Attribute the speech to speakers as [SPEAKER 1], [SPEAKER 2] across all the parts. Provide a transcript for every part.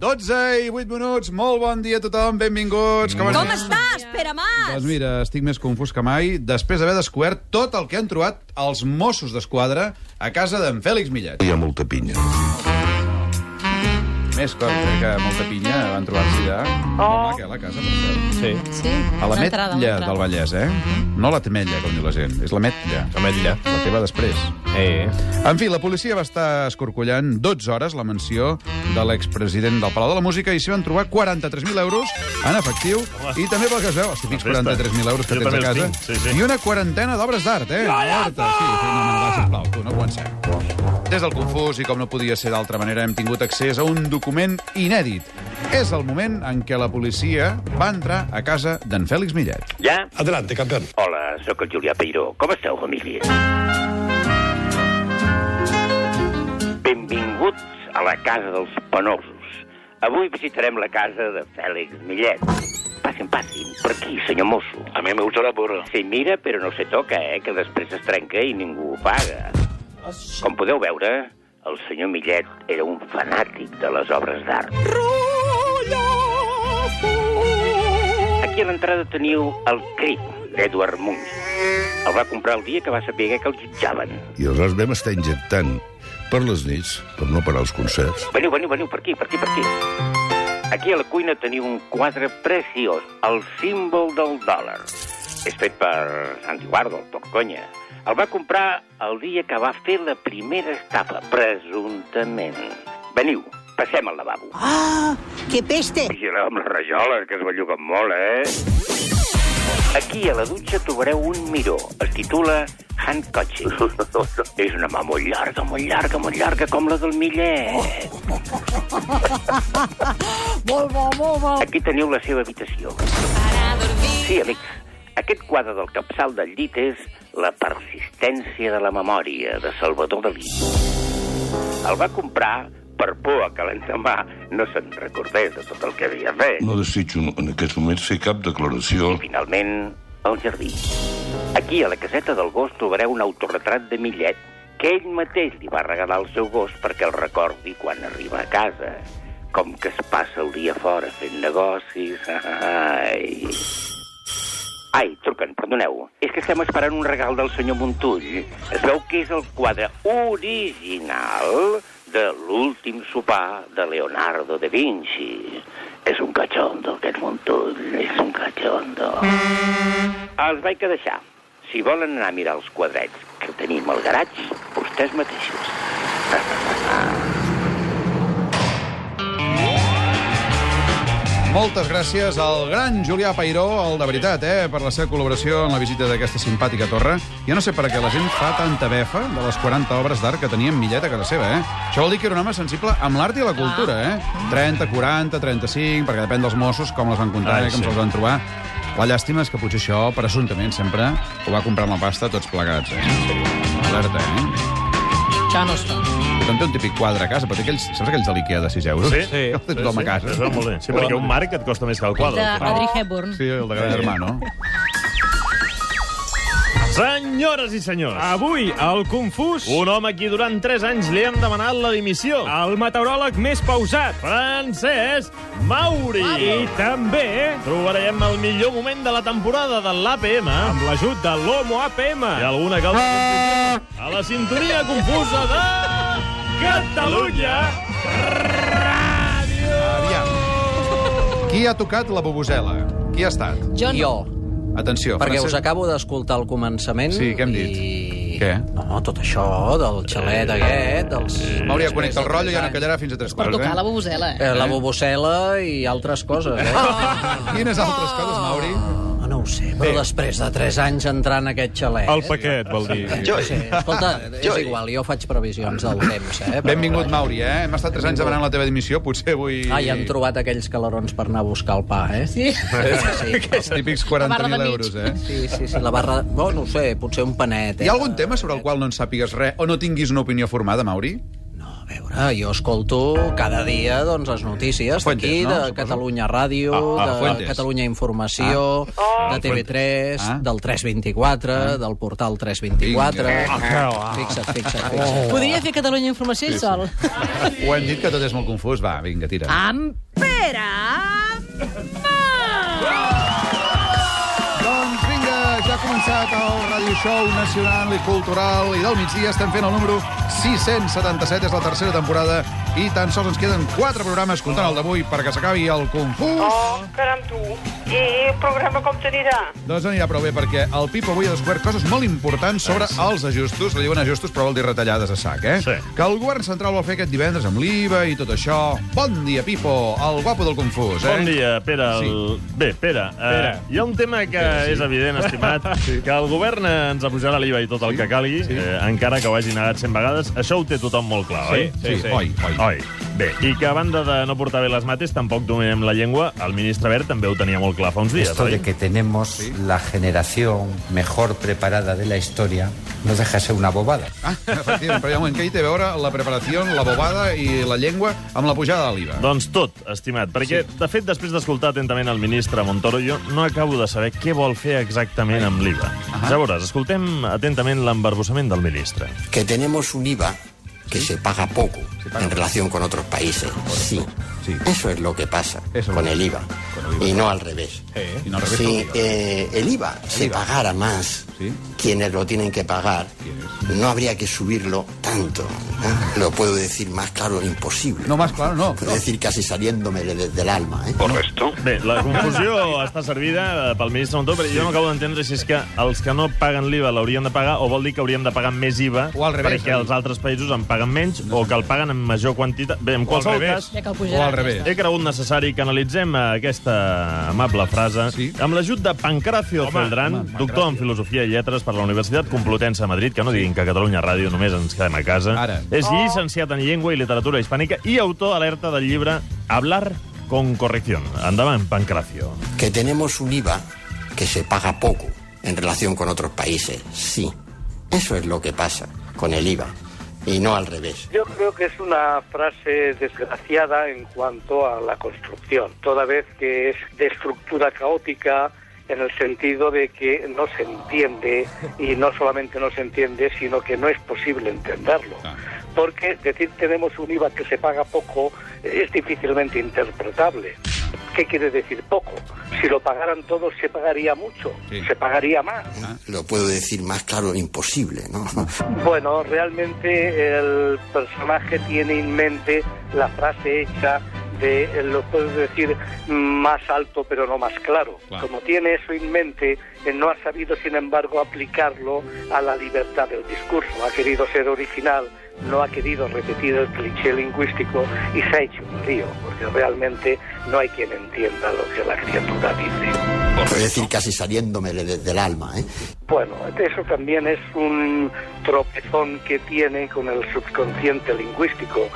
[SPEAKER 1] 12 i 8 minuts. Molt bon dia a tothom, benvinguts. Com,
[SPEAKER 2] Com estàs, Pere Mas?
[SPEAKER 1] Doncs mira, estic més confús que mai després d'haver descobert tot el que han trobat els Mossos d'Esquadra a casa d'en Fèlix Millet.
[SPEAKER 3] Hi ha molta pinya.
[SPEAKER 1] Més cosa que molta pinya van trobar-s'hi allà. Oh. Molt maca, la casa, per cert.
[SPEAKER 4] Sí,
[SPEAKER 2] Sí,
[SPEAKER 1] A la
[SPEAKER 2] una entrada, una
[SPEAKER 1] Metlla
[SPEAKER 2] entrada.
[SPEAKER 1] del Vallès, eh? No la Temella, com diu la gent. És la Metlla.
[SPEAKER 4] ametlla.
[SPEAKER 1] La teva després.
[SPEAKER 4] Eh,
[SPEAKER 1] En fi, la policia va estar escorcollant 12 hores la mansió de l'expresident del Palau de la Música i s'hi van trobar 43.000 euros en efectiu i també pel que es veu, els típics
[SPEAKER 5] La festa.
[SPEAKER 1] 43.000 euros que
[SPEAKER 5] Jo
[SPEAKER 1] tens a
[SPEAKER 5] també els
[SPEAKER 1] casa
[SPEAKER 5] tinc, sí, sí.
[SPEAKER 1] i una quarantena d'obres d'art, eh? Marta, sí, sí, no, no, va, sisplau, tu, no comencem. Des del Confús, i com no podia ser d'altra manera, hem tingut accés a un document inèdit. És el moment en què la policia va entrar a casa d'en Fèlix Millet.
[SPEAKER 6] Ja?
[SPEAKER 3] Adelante, campeón.
[SPEAKER 6] Hola, sóc el Julià Peiró. Com esteu, família? Benvinguts a la Casa dels Penosos. Avui visitarem la casa de Fèlix Millet. Passin, passin, per aquí, senyor mosso. A mi m'agrada la burra. Sí, mira, però no se toca, eh, que després es trenca i ningú ho paga. Com podeu veure, el senyor Millet era un fanàtic de les obres d'art. Aquí a l'entrada teniu el crit d'Edward Munch. El va comprar el dia que va saber que el jutjaven.
[SPEAKER 3] I aleshores vam estar injectant per les nits, per no parar els concerts.
[SPEAKER 6] Veniu, veniu, veniu, per aquí, per aquí, per aquí. Aquí a la cuina teniu un quadre preciós, el símbol del dòlar. És fet per Santi Guardo, el Torconya. El va comprar el dia que va fer la primera estafa, presumptament. Veniu, passem al lavabo. Ah, que peste! Vigileu amb les rajoles, que es belluguen molt, eh? Aquí a la dutxa trobareu un miró. Es titula Hand Coaching. És una mà molt llarga, molt llarga, molt llarga, com la del Millet.
[SPEAKER 2] Molt bo, molt bo.
[SPEAKER 6] Aquí teniu la seva habitació. Sí, amics, aquest quadre del capçal del llit és La persistència de la memòria, de Salvador Dalí. El va comprar per por a que l'endemà no se'n recordés de tot el que havia fet.
[SPEAKER 3] No desitjo en aquest moment fer cap declaració.
[SPEAKER 6] I, finalment, el jardí. Aquí, a la caseta del gos, trobareu un autorretrat de Millet que ell mateix li va regalar al seu gos perquè el recordi quan arriba a casa. Com que es passa el dia fora fent negocis... Ai... Ai, truquen, perdoneu. És que estem esperant un regal del senyor Montull. Es veu que és el quadre original de l'últim sopar de Leonardo da Vinci. És un cachondo, aquest Montull. És un cachondo. Els vaig que deixar. Si volen anar a mirar els quadrets que tenim al garatge, vostès mateixos.
[SPEAKER 1] Moltes gràcies al gran Julià Pairó, el de veritat, eh, per la seva col·laboració en la visita d'aquesta simpàtica torre. Jo no sé per què la gent fa tanta befa de les 40 obres d'art que tenia en Millet a casa seva, eh? Això vol dir que era un home sensible amb l'art i la cultura, eh? 30, 40, 35, perquè depèn dels Mossos com les van comptar
[SPEAKER 4] Ai,
[SPEAKER 1] i com
[SPEAKER 4] sí.
[SPEAKER 1] se'ls van trobar. La llàstima és que potser això, presumptament, sempre ho va comprar amb la pasta tots plegats, eh? Alerta, eh?
[SPEAKER 2] Això no es fa.
[SPEAKER 1] Tothom té un típic quadre a casa, però té aquells, saps aquells de l'Ikea de 6 euros?
[SPEAKER 5] Sí.
[SPEAKER 1] Sí. Els té tothom a casa.
[SPEAKER 5] Això va molt bé. Sí, perquè un marc et costa més que el
[SPEAKER 2] De
[SPEAKER 5] quadre.
[SPEAKER 2] Audrey Hepburn.
[SPEAKER 1] Sí, el de Gran Hermano.
[SPEAKER 5] Senyores i senyors,
[SPEAKER 7] Avui, al Confús,
[SPEAKER 5] un home a qui durant 3 anys li hem demanat la dimissió.
[SPEAKER 7] el meteoròleg més pausat.
[SPEAKER 5] Francesc Mauri.
[SPEAKER 7] I també,
[SPEAKER 5] Trobarem el millor moment de la temporada de l'APM
[SPEAKER 7] amb l'ajut de l'Homo APM,
[SPEAKER 5] i alguna que altra a la sintonia confusa de Catalunya.
[SPEAKER 1] Aviam. Qui ha tocat la bubusela? Qui ha estat?
[SPEAKER 2] Jo no.
[SPEAKER 8] Jo,
[SPEAKER 1] Atenció.
[SPEAKER 8] perquè us
[SPEAKER 1] Francesc-
[SPEAKER 8] acabo d'escoltar al començament...
[SPEAKER 1] Sí, què hem dit?
[SPEAKER 8] I...
[SPEAKER 1] Què? Eh.
[SPEAKER 8] No, tot això del xalet aquest, dels...
[SPEAKER 1] Mauri, ja connecta el rotllo i ja no callarà fins a tres
[SPEAKER 2] Per
[SPEAKER 1] quarts.
[SPEAKER 2] tocar la
[SPEAKER 1] eh?
[SPEAKER 2] bubusela, eh?
[SPEAKER 8] Eh, la bobocela i altres coses, eh?
[SPEAKER 1] Quines altres coses, Mauri?
[SPEAKER 8] Ah, no ho sé, però després de 3 anys entrant en aquest xalet...
[SPEAKER 7] el paquet, vol dir.
[SPEAKER 8] Jo sé, escolta, és igual, jo faig previsions del temps, eh? però
[SPEAKER 1] Benvingut,
[SPEAKER 8] vaja.
[SPEAKER 1] Mauri, eh? Hem estat tres anys demanant la teva dimissió, potser avui...
[SPEAKER 8] Ai, han trobat aquells calarons per anar a buscar el pa, eh?
[SPEAKER 2] Sí.
[SPEAKER 8] Sí, sí,
[SPEAKER 1] Els típics
[SPEAKER 2] barra de
[SPEAKER 1] 40.000
[SPEAKER 2] mig.
[SPEAKER 1] euros, eh?
[SPEAKER 8] sí, sí, sí la barra... No, no ho sé, potser un panet, eh?
[SPEAKER 1] Hi ha algun tema sobre el qual no en sàpigues res o no tinguis una opinió formada, Mauri?
[SPEAKER 8] No, a veure, Ah, jo escolto cada dia doncs, les notícies
[SPEAKER 1] Fuentes,
[SPEAKER 8] d'aquí,
[SPEAKER 1] no?
[SPEAKER 8] de
[SPEAKER 1] Suposo.
[SPEAKER 8] Catalunya Ràdio,
[SPEAKER 1] Ah, ah,
[SPEAKER 8] de
[SPEAKER 1] Fuentes.
[SPEAKER 8] Catalunya Informació, de TV3,
[SPEAKER 1] Ah.
[SPEAKER 8] del 324, del portal 324...
[SPEAKER 1] Ah,
[SPEAKER 8] Fixa't, fixa't, fixa't.
[SPEAKER 1] Oh.
[SPEAKER 2] Podria fer Catalunya Informació ell sol.
[SPEAKER 1] Ho hem dit que tot és molt confús. Va, vinga, tira.
[SPEAKER 2] Ampera!
[SPEAKER 1] Doncs vinga, ja ha començat el Radio Show Nacional i Cultural i del migdia estem fent el número 677, és la tercera temporada i tan sols ens queden quatre programes comptant el d'avui perquè s'acabi el confús.
[SPEAKER 4] Oh, caram, tu. I el programa com t'anirà?
[SPEAKER 1] Doncs anirà prou bé, perquè el Pipo avui ha descobert coses molt importants sobre els ajustos. Li diuen ajustos, però vol dir retallades a sac, eh?
[SPEAKER 5] Sí.
[SPEAKER 1] Que el govern central vol fer aquest divendres amb l'IVA i tot això. Bon dia, Pipo, el guapo del confús, eh?
[SPEAKER 5] Bon dia, Pere. El... Bé, Pere, Pere. Uh, hi ha un tema que és evident, estimat, sí. que el govern eh, ens apujarà l'IVA i tot el que calgui, sí. eh, encara que ho hagi negat 100 vegades. Això ho té tothom molt clar, oi?
[SPEAKER 1] Sí, sí. Oi, oi.
[SPEAKER 5] Oi. Bé, i que a banda de no portar bé les mates, tampoc dominem la llengua. El ministre Wert també ho tenia molt clar fa uns dies,
[SPEAKER 9] Esto
[SPEAKER 5] oi?
[SPEAKER 9] de que tenemos la generación mejor preparada de la historia no deja de ser una bobada.
[SPEAKER 1] Ah, efectivament, però hi ha un moment que hi té a veure la preparació, la bobada i la llengua amb la pujada de l'IVA.
[SPEAKER 5] Doncs tot, estimat, perquè, sí. de fet, després d'escoltar atentament el ministre Montoro, jo no acabo de saber què vol fer exactament amb l'IVA. Ja veuràs, escoltem atentament l'embarbussament del ministre.
[SPEAKER 10] que tenemos un IVA que se paga poco en relación con otros países. Sí.
[SPEAKER 1] Sí.
[SPEAKER 10] Eso es lo que pasa
[SPEAKER 1] Eso
[SPEAKER 10] con
[SPEAKER 1] es.
[SPEAKER 10] el IVA.
[SPEAKER 1] Con el IVA.
[SPEAKER 10] Y no al revés.
[SPEAKER 1] I no al revés,
[SPEAKER 10] si
[SPEAKER 1] no.
[SPEAKER 10] eh, el IVA se pagara más,
[SPEAKER 1] Sí.
[SPEAKER 10] quienes lo tienen que pagar,
[SPEAKER 1] ¿Quiénes?
[SPEAKER 10] no habría que subirlo tanto. ¿eh? Lo puedo decir más claro, imposible.
[SPEAKER 1] No, más claro, no.
[SPEAKER 10] Puedo
[SPEAKER 1] No.
[SPEAKER 10] decir casi saliéndome de- del alma. ¿eh?
[SPEAKER 6] Correcto.
[SPEAKER 5] Bé, la confusió està servida eh, pel ministre Montoro, però jo no acabo d'entendre si és que els que no paguen l'IVA l'haurien de pagar o vol dir que hauríem de pagar més IVA
[SPEAKER 1] O al revés,
[SPEAKER 5] perquè
[SPEAKER 1] eh?
[SPEAKER 5] els altres països en paguen menys o que el paguen en major quantitat. Bé, en qualsevol cas,
[SPEAKER 2] Ja que el
[SPEAKER 1] O
[SPEAKER 2] pujarà.
[SPEAKER 1] al revés.
[SPEAKER 5] He cregut necessari que analitzem eh, aquesta amable frase
[SPEAKER 1] Sí.
[SPEAKER 5] amb l'ajut de Pancracio home, Celdrán,
[SPEAKER 1] home,
[SPEAKER 5] doctor en Filosofia i Lletres per la Universitat Complutense de Madrid, que no diguin que a Catalunya Ràdio només ens quedem a casa.
[SPEAKER 1] Ara.
[SPEAKER 5] És
[SPEAKER 7] Oh.
[SPEAKER 5] llicenciat en Llengua i Literatura Hispànica i autor alerta del llibre Hablar con corrección. Endavant, Pancracio.
[SPEAKER 10] Que tenemos un IVA que se paga poco en relación con otros países. Sí. Eso es lo que pasa con el IVA. Y no al revés.
[SPEAKER 4] Yo creo que es una frase desgraciada en cuanto a la construcción, toda vez que es de estructura caótica en el sentido de que no se entiende y no solamente no se entiende, sino que no es posible entenderlo. Porque decir tenemos un IVA que se paga poco eh, es difícilmente interpretable. ¿Qué quiere decir poco? Si lo pagaran todos se pagaría mucho,
[SPEAKER 1] Sí.
[SPEAKER 4] se pagaría más.
[SPEAKER 10] Lo puedo decir más claro, imposible, ¿no?
[SPEAKER 4] Bueno, realmente el personaje tiene en mente la frase hecha de eh, lo puedo decir más alto pero no más claro.
[SPEAKER 1] Claro.
[SPEAKER 4] Como tiene eso en mente, eh, no ha sabido sin embargo aplicarlo a la libertad del discurso. Ha querido ser original, no ha querido repetir el cliché lingüístico y se ha hecho un lío, porque realmente no hay quien entienda lo que la criatura dice.
[SPEAKER 10] Puedo decir casi saliéndome de- de- del alma, ¿eh?
[SPEAKER 4] Bueno, eso también es un tropezón que tiene con el subconsciente lingüístico.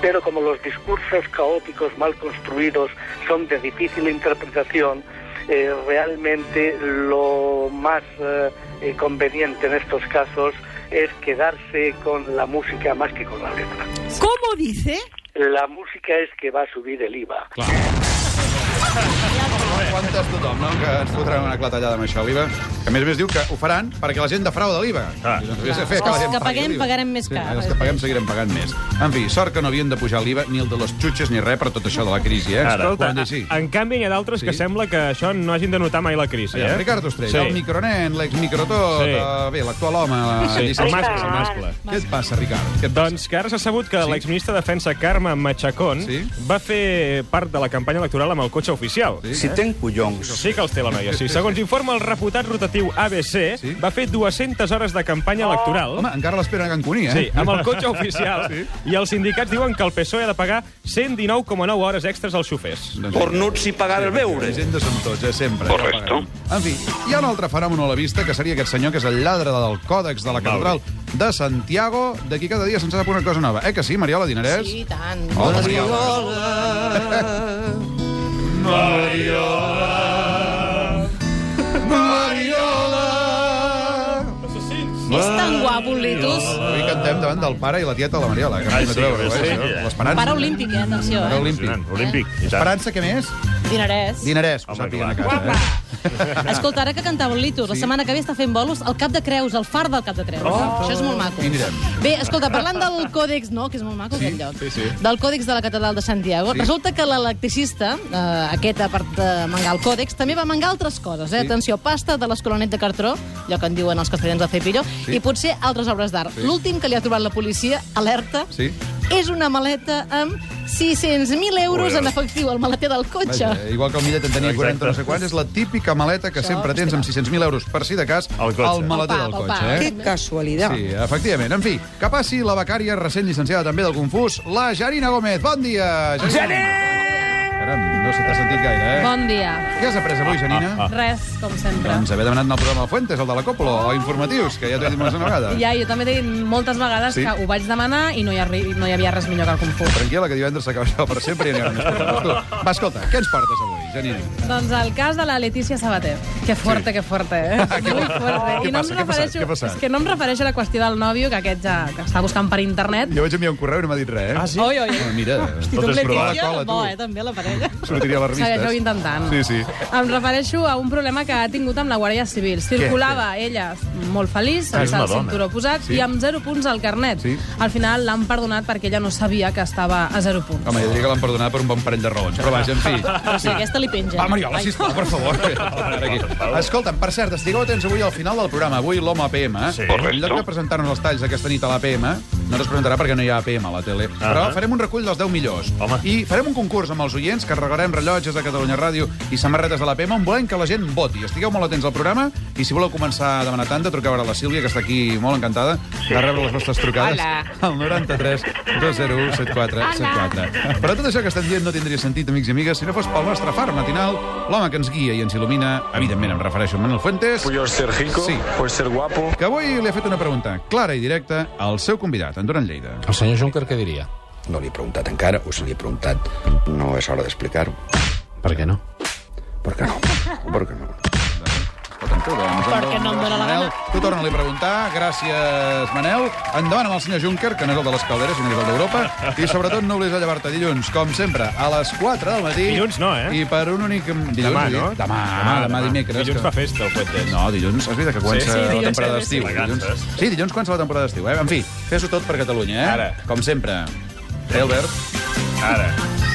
[SPEAKER 4] Pero como los discursos caóticos mal construidos son de difícil interpretación, eh, realmente lo más eh, eh, conveniente en estos casos es quedarse con la música más que con la letra.
[SPEAKER 2] ¿Cómo dice?
[SPEAKER 4] La música es que va a subir el IVA.
[SPEAKER 1] Quantes tothom, no?, que ens fotran una clatellada amb això, l'IVA. Que a més a més diu que ho faran perquè la gent defrauda l'IVA.
[SPEAKER 5] Ah.
[SPEAKER 1] Doncs hauria de fer la
[SPEAKER 2] Els
[SPEAKER 1] gent
[SPEAKER 2] que
[SPEAKER 1] pagui
[SPEAKER 2] paguem,
[SPEAKER 1] l'IVA.
[SPEAKER 2] pagarem més car.
[SPEAKER 1] Sí, els que paguem seguirem pagant més. En fi, sort que no havien de pujar l'IVA ni el de les xutxes ni res per tot això de la crisi, eh?
[SPEAKER 5] Ara.
[SPEAKER 1] Ho
[SPEAKER 7] Escolta,
[SPEAKER 1] van dir així.
[SPEAKER 7] en canvi, hi ha d'altres que
[SPEAKER 1] Sí.
[SPEAKER 7] sembla que això no hagin de notar mai la crisi,
[SPEAKER 1] Allà,
[SPEAKER 7] eh?
[SPEAKER 1] Ricard Ostrell,
[SPEAKER 7] Sí.
[SPEAKER 1] el micronen, l'exmicrotot,
[SPEAKER 7] Sí.
[SPEAKER 1] eh, bé, l'actual home, la
[SPEAKER 7] Sí, el
[SPEAKER 1] llicenciada.
[SPEAKER 7] mascle, el mascle.
[SPEAKER 1] Què et passa, Ricard? Què et passa?
[SPEAKER 7] Doncs que ara s'ha sabut que
[SPEAKER 1] Sí.
[SPEAKER 7] sí. l'exministra de Defensa Carme Machacón
[SPEAKER 1] Sí.
[SPEAKER 7] sí. va fer part de la campanya electoral amb el cotxe oficial.
[SPEAKER 1] Sí.
[SPEAKER 10] eh.
[SPEAKER 9] Si ten collons,
[SPEAKER 7] Sí que els té la noia, sí. Segons informa el reputat rotatiu ABC,
[SPEAKER 1] Sí.
[SPEAKER 7] sí. va fer 200 hores de campanya electoral.
[SPEAKER 1] Home, encara l'esperen a Can Cuní, eh?
[SPEAKER 7] Sí, amb el cotxe oficial. Sí. I els sindicats diuen que el PSOE E ha de pagar 119,9 hores extres als xofers.
[SPEAKER 1] Cornuts i pagar el beure. Doncs La gent de som tots, eh, sempre. Correcto. En fi, hi ha un altre fenomen a la vista, que seria aquest senyor que és el lladre del còdex de la catedral de Santiago. D'aquí cada dia se'ns ha de posar una cosa nova. Eh que sí, Mariola Dinerès?
[SPEAKER 2] Sí, i tant.
[SPEAKER 1] Hola, Mariola. Mariola.
[SPEAKER 2] És tan guapo el Espíritus.
[SPEAKER 1] Avui cantem davant del pare i la tieta de la Mariola, que
[SPEAKER 5] Ai,
[SPEAKER 1] m'hi
[SPEAKER 5] sí,
[SPEAKER 1] treu, eh?
[SPEAKER 5] sí, sí.
[SPEAKER 1] això. L'esperança.
[SPEAKER 2] Para olímpic, eh? Atenció,
[SPEAKER 1] Para
[SPEAKER 2] eh?
[SPEAKER 1] olímpic.
[SPEAKER 5] Olímpic. i tant.
[SPEAKER 1] Esperança, què més?
[SPEAKER 2] Dinerès.
[SPEAKER 1] Dinerès, que ho
[SPEAKER 5] Home,
[SPEAKER 1] sàpiguen a
[SPEAKER 5] clar.
[SPEAKER 1] casa. Eh?
[SPEAKER 2] Escolta, ara que cantava el Litus, la setmana que ve està fent bolos al Cap de Creus, al far del Cap de Creus. Això és molt maco.
[SPEAKER 1] Hi anirem.
[SPEAKER 2] Bé, escolta, parlant del còdex, no?, que és molt maco sí, aquest lloc, sí, sí. del còdex de la Catedral de Santiago, sí. resulta que l'electricista, eh, aquest a part de mangar el còdex, també va mangar altres coses, eh? Sí. Atenció, pasta de l'escolanet de Cartró, allò que en diuen els castellans de Cepillo, sí. i potser altres obres d'art. Sí. L'últim que li ha trobat la policia, alerta,
[SPEAKER 1] Sí.
[SPEAKER 2] és una maleta amb 600.000 euros en efectiu, el maleter del cotxe.
[SPEAKER 1] Vaja, eh, igual que el Millet en tenia 40 no sé quants, és la típica maleta que
[SPEAKER 2] Això,
[SPEAKER 1] sempre tens amb 600.000 euros, per si de cas,
[SPEAKER 5] Al cotxe.
[SPEAKER 1] al maleter
[SPEAKER 2] Al
[SPEAKER 1] del
[SPEAKER 2] pap, al
[SPEAKER 1] cotxe.
[SPEAKER 2] pap.
[SPEAKER 1] Eh?
[SPEAKER 2] Qué
[SPEAKER 11] casualidad.
[SPEAKER 1] Sí, efectivament. En fi, que passi la becària recent llicenciada també del Confús, la Jarina Gómez. Bon dia, Jarina! Caram, no se t'ha sentit gaire, eh?
[SPEAKER 12] Bon dia.
[SPEAKER 1] Què has après avui, Janina? Ah,
[SPEAKER 12] Res, com sempre.
[SPEAKER 1] Doncs haver demanat en el programa de Fuentes, el de la Còpolo, o informatius, que ja t'ho he dit més una vegada.
[SPEAKER 12] Ja, jo també t'he dit moltes vegades
[SPEAKER 1] Sí.
[SPEAKER 12] sí. que ho vaig demanar i no hi, arri- no hi havia res millor que el confús.
[SPEAKER 1] Tranquil·la, que divendres s'acaba això per sempre i anirà més programes. Tu, Va, escolta, què ens portes avui, Janina?
[SPEAKER 12] Doncs el cas de la Letícia Sabater. Que fuerte, sí. que fuerte, eh? Muy fuerte.
[SPEAKER 1] Què
[SPEAKER 12] I no
[SPEAKER 1] passa,
[SPEAKER 12] em
[SPEAKER 1] què ha passat,
[SPEAKER 12] refereixo,
[SPEAKER 1] què ha passat?
[SPEAKER 12] és que no em refereixo a la qüestió del nòvio, que aquest ja que està buscant per internet.
[SPEAKER 1] Jo vaig enviar un correu i no m'ha dit res, eh? Ah,
[SPEAKER 12] sí? Oi, oi.
[SPEAKER 1] Bueno, mira,
[SPEAKER 12] tu amb
[SPEAKER 1] cola,
[SPEAKER 12] Letícia,
[SPEAKER 1] cola,
[SPEAKER 12] bo, eh,
[SPEAKER 1] tu.
[SPEAKER 2] també la parella.
[SPEAKER 1] Sortiria a les revistes.
[SPEAKER 12] Segueixeu intentant.
[SPEAKER 1] Sí, sí.
[SPEAKER 12] Em refereixo a un problema que ha tingut amb la Guàrdia Civil. Circulava ella molt feliç,
[SPEAKER 5] Ah, és
[SPEAKER 12] sense
[SPEAKER 5] una
[SPEAKER 12] el
[SPEAKER 5] dona.
[SPEAKER 12] cinturó posat
[SPEAKER 1] Sí.
[SPEAKER 12] i amb 0 punts al carnet.
[SPEAKER 1] Sí.
[SPEAKER 12] Al final l'han perdonat perquè ella no sabia que estava a 0 punts.
[SPEAKER 1] Home, jo diria que l'han perdonat per un bon parell de raons, però vaja, en fi.
[SPEAKER 2] Però si aquesta li penja.
[SPEAKER 1] Va, Ah, Mariola, sisplau, per favor. Aquí. Escolta'm, per cert, estigueu atents avui al final del programa. Avui l'home APM. eh?
[SPEAKER 5] Sí.
[SPEAKER 1] En lloc de presentar-nos els talls aquesta nit a l'APM, no ens presentarà perquè no hi ha APM a la tele, però
[SPEAKER 5] Ah.
[SPEAKER 1] farem un recull dels 10 millors.
[SPEAKER 5] Home.
[SPEAKER 1] I farem un concurs amb els oients, que regalarem rellotges de Catalunya Ràdio i samarretes de l'APM, on volem que la gent voti. Estigueu molt atents al programa i si voleu començar a demanar tanta, truqueu ara a la Sílvia, que està aquí molt encantada de rebre les vostres trucades
[SPEAKER 11] Hola.
[SPEAKER 1] al 93 201 7474. Però tot això que estem dient no tindria sentit, amics i amigues, si no fos pel nostre far matinal, l'home que ens guia i ens il·lumina, evidentment em refereixo a Manuel Fuentes. Puyo ser rico, sí. puyo ser guapo. Que avui li ha fet una pregunta clara i directa al seu convidat, en Duran Lleida.
[SPEAKER 13] El senyor Juncker què diria?
[SPEAKER 10] No li he preguntat encara, o si li he preguntat no és hora d'explicar-ho.
[SPEAKER 13] Per què no?
[SPEAKER 10] Per què no? Per què no?
[SPEAKER 1] Perquè no doncs, em dóna la gana. Tu torna-li a preguntar. Gràcies, Manel. Endavant amb el senyor Juncker, que no és el de les calderes, sinó que és el d'Europa. I sobretot no oblidis de llevar-te dilluns, com sempre, a les 4 del matí.
[SPEAKER 7] Dilluns no, eh?
[SPEAKER 1] I per un únic... Dilluns,
[SPEAKER 7] Demà,
[SPEAKER 1] vull dir.
[SPEAKER 7] no?
[SPEAKER 1] Demà, demà,
[SPEAKER 7] Demà,
[SPEAKER 1] demà
[SPEAKER 7] demà.
[SPEAKER 1] dimecres.
[SPEAKER 7] Dilluns fa festa, el Fuentes.
[SPEAKER 1] No, dilluns, has vist que comença
[SPEAKER 7] Sí, sí,
[SPEAKER 1] la
[SPEAKER 7] dilluns,
[SPEAKER 1] temporada
[SPEAKER 7] sí, sí.
[SPEAKER 1] d'estiu.
[SPEAKER 7] Vacances.
[SPEAKER 1] Dilluns- Sí, dilluns comença la temporada eh? d'estiu, eh? En fi, fes-ho tot per Catalunya, eh?
[SPEAKER 7] Ara.
[SPEAKER 1] Com sempre. Té, Albert.
[SPEAKER 5] Ara.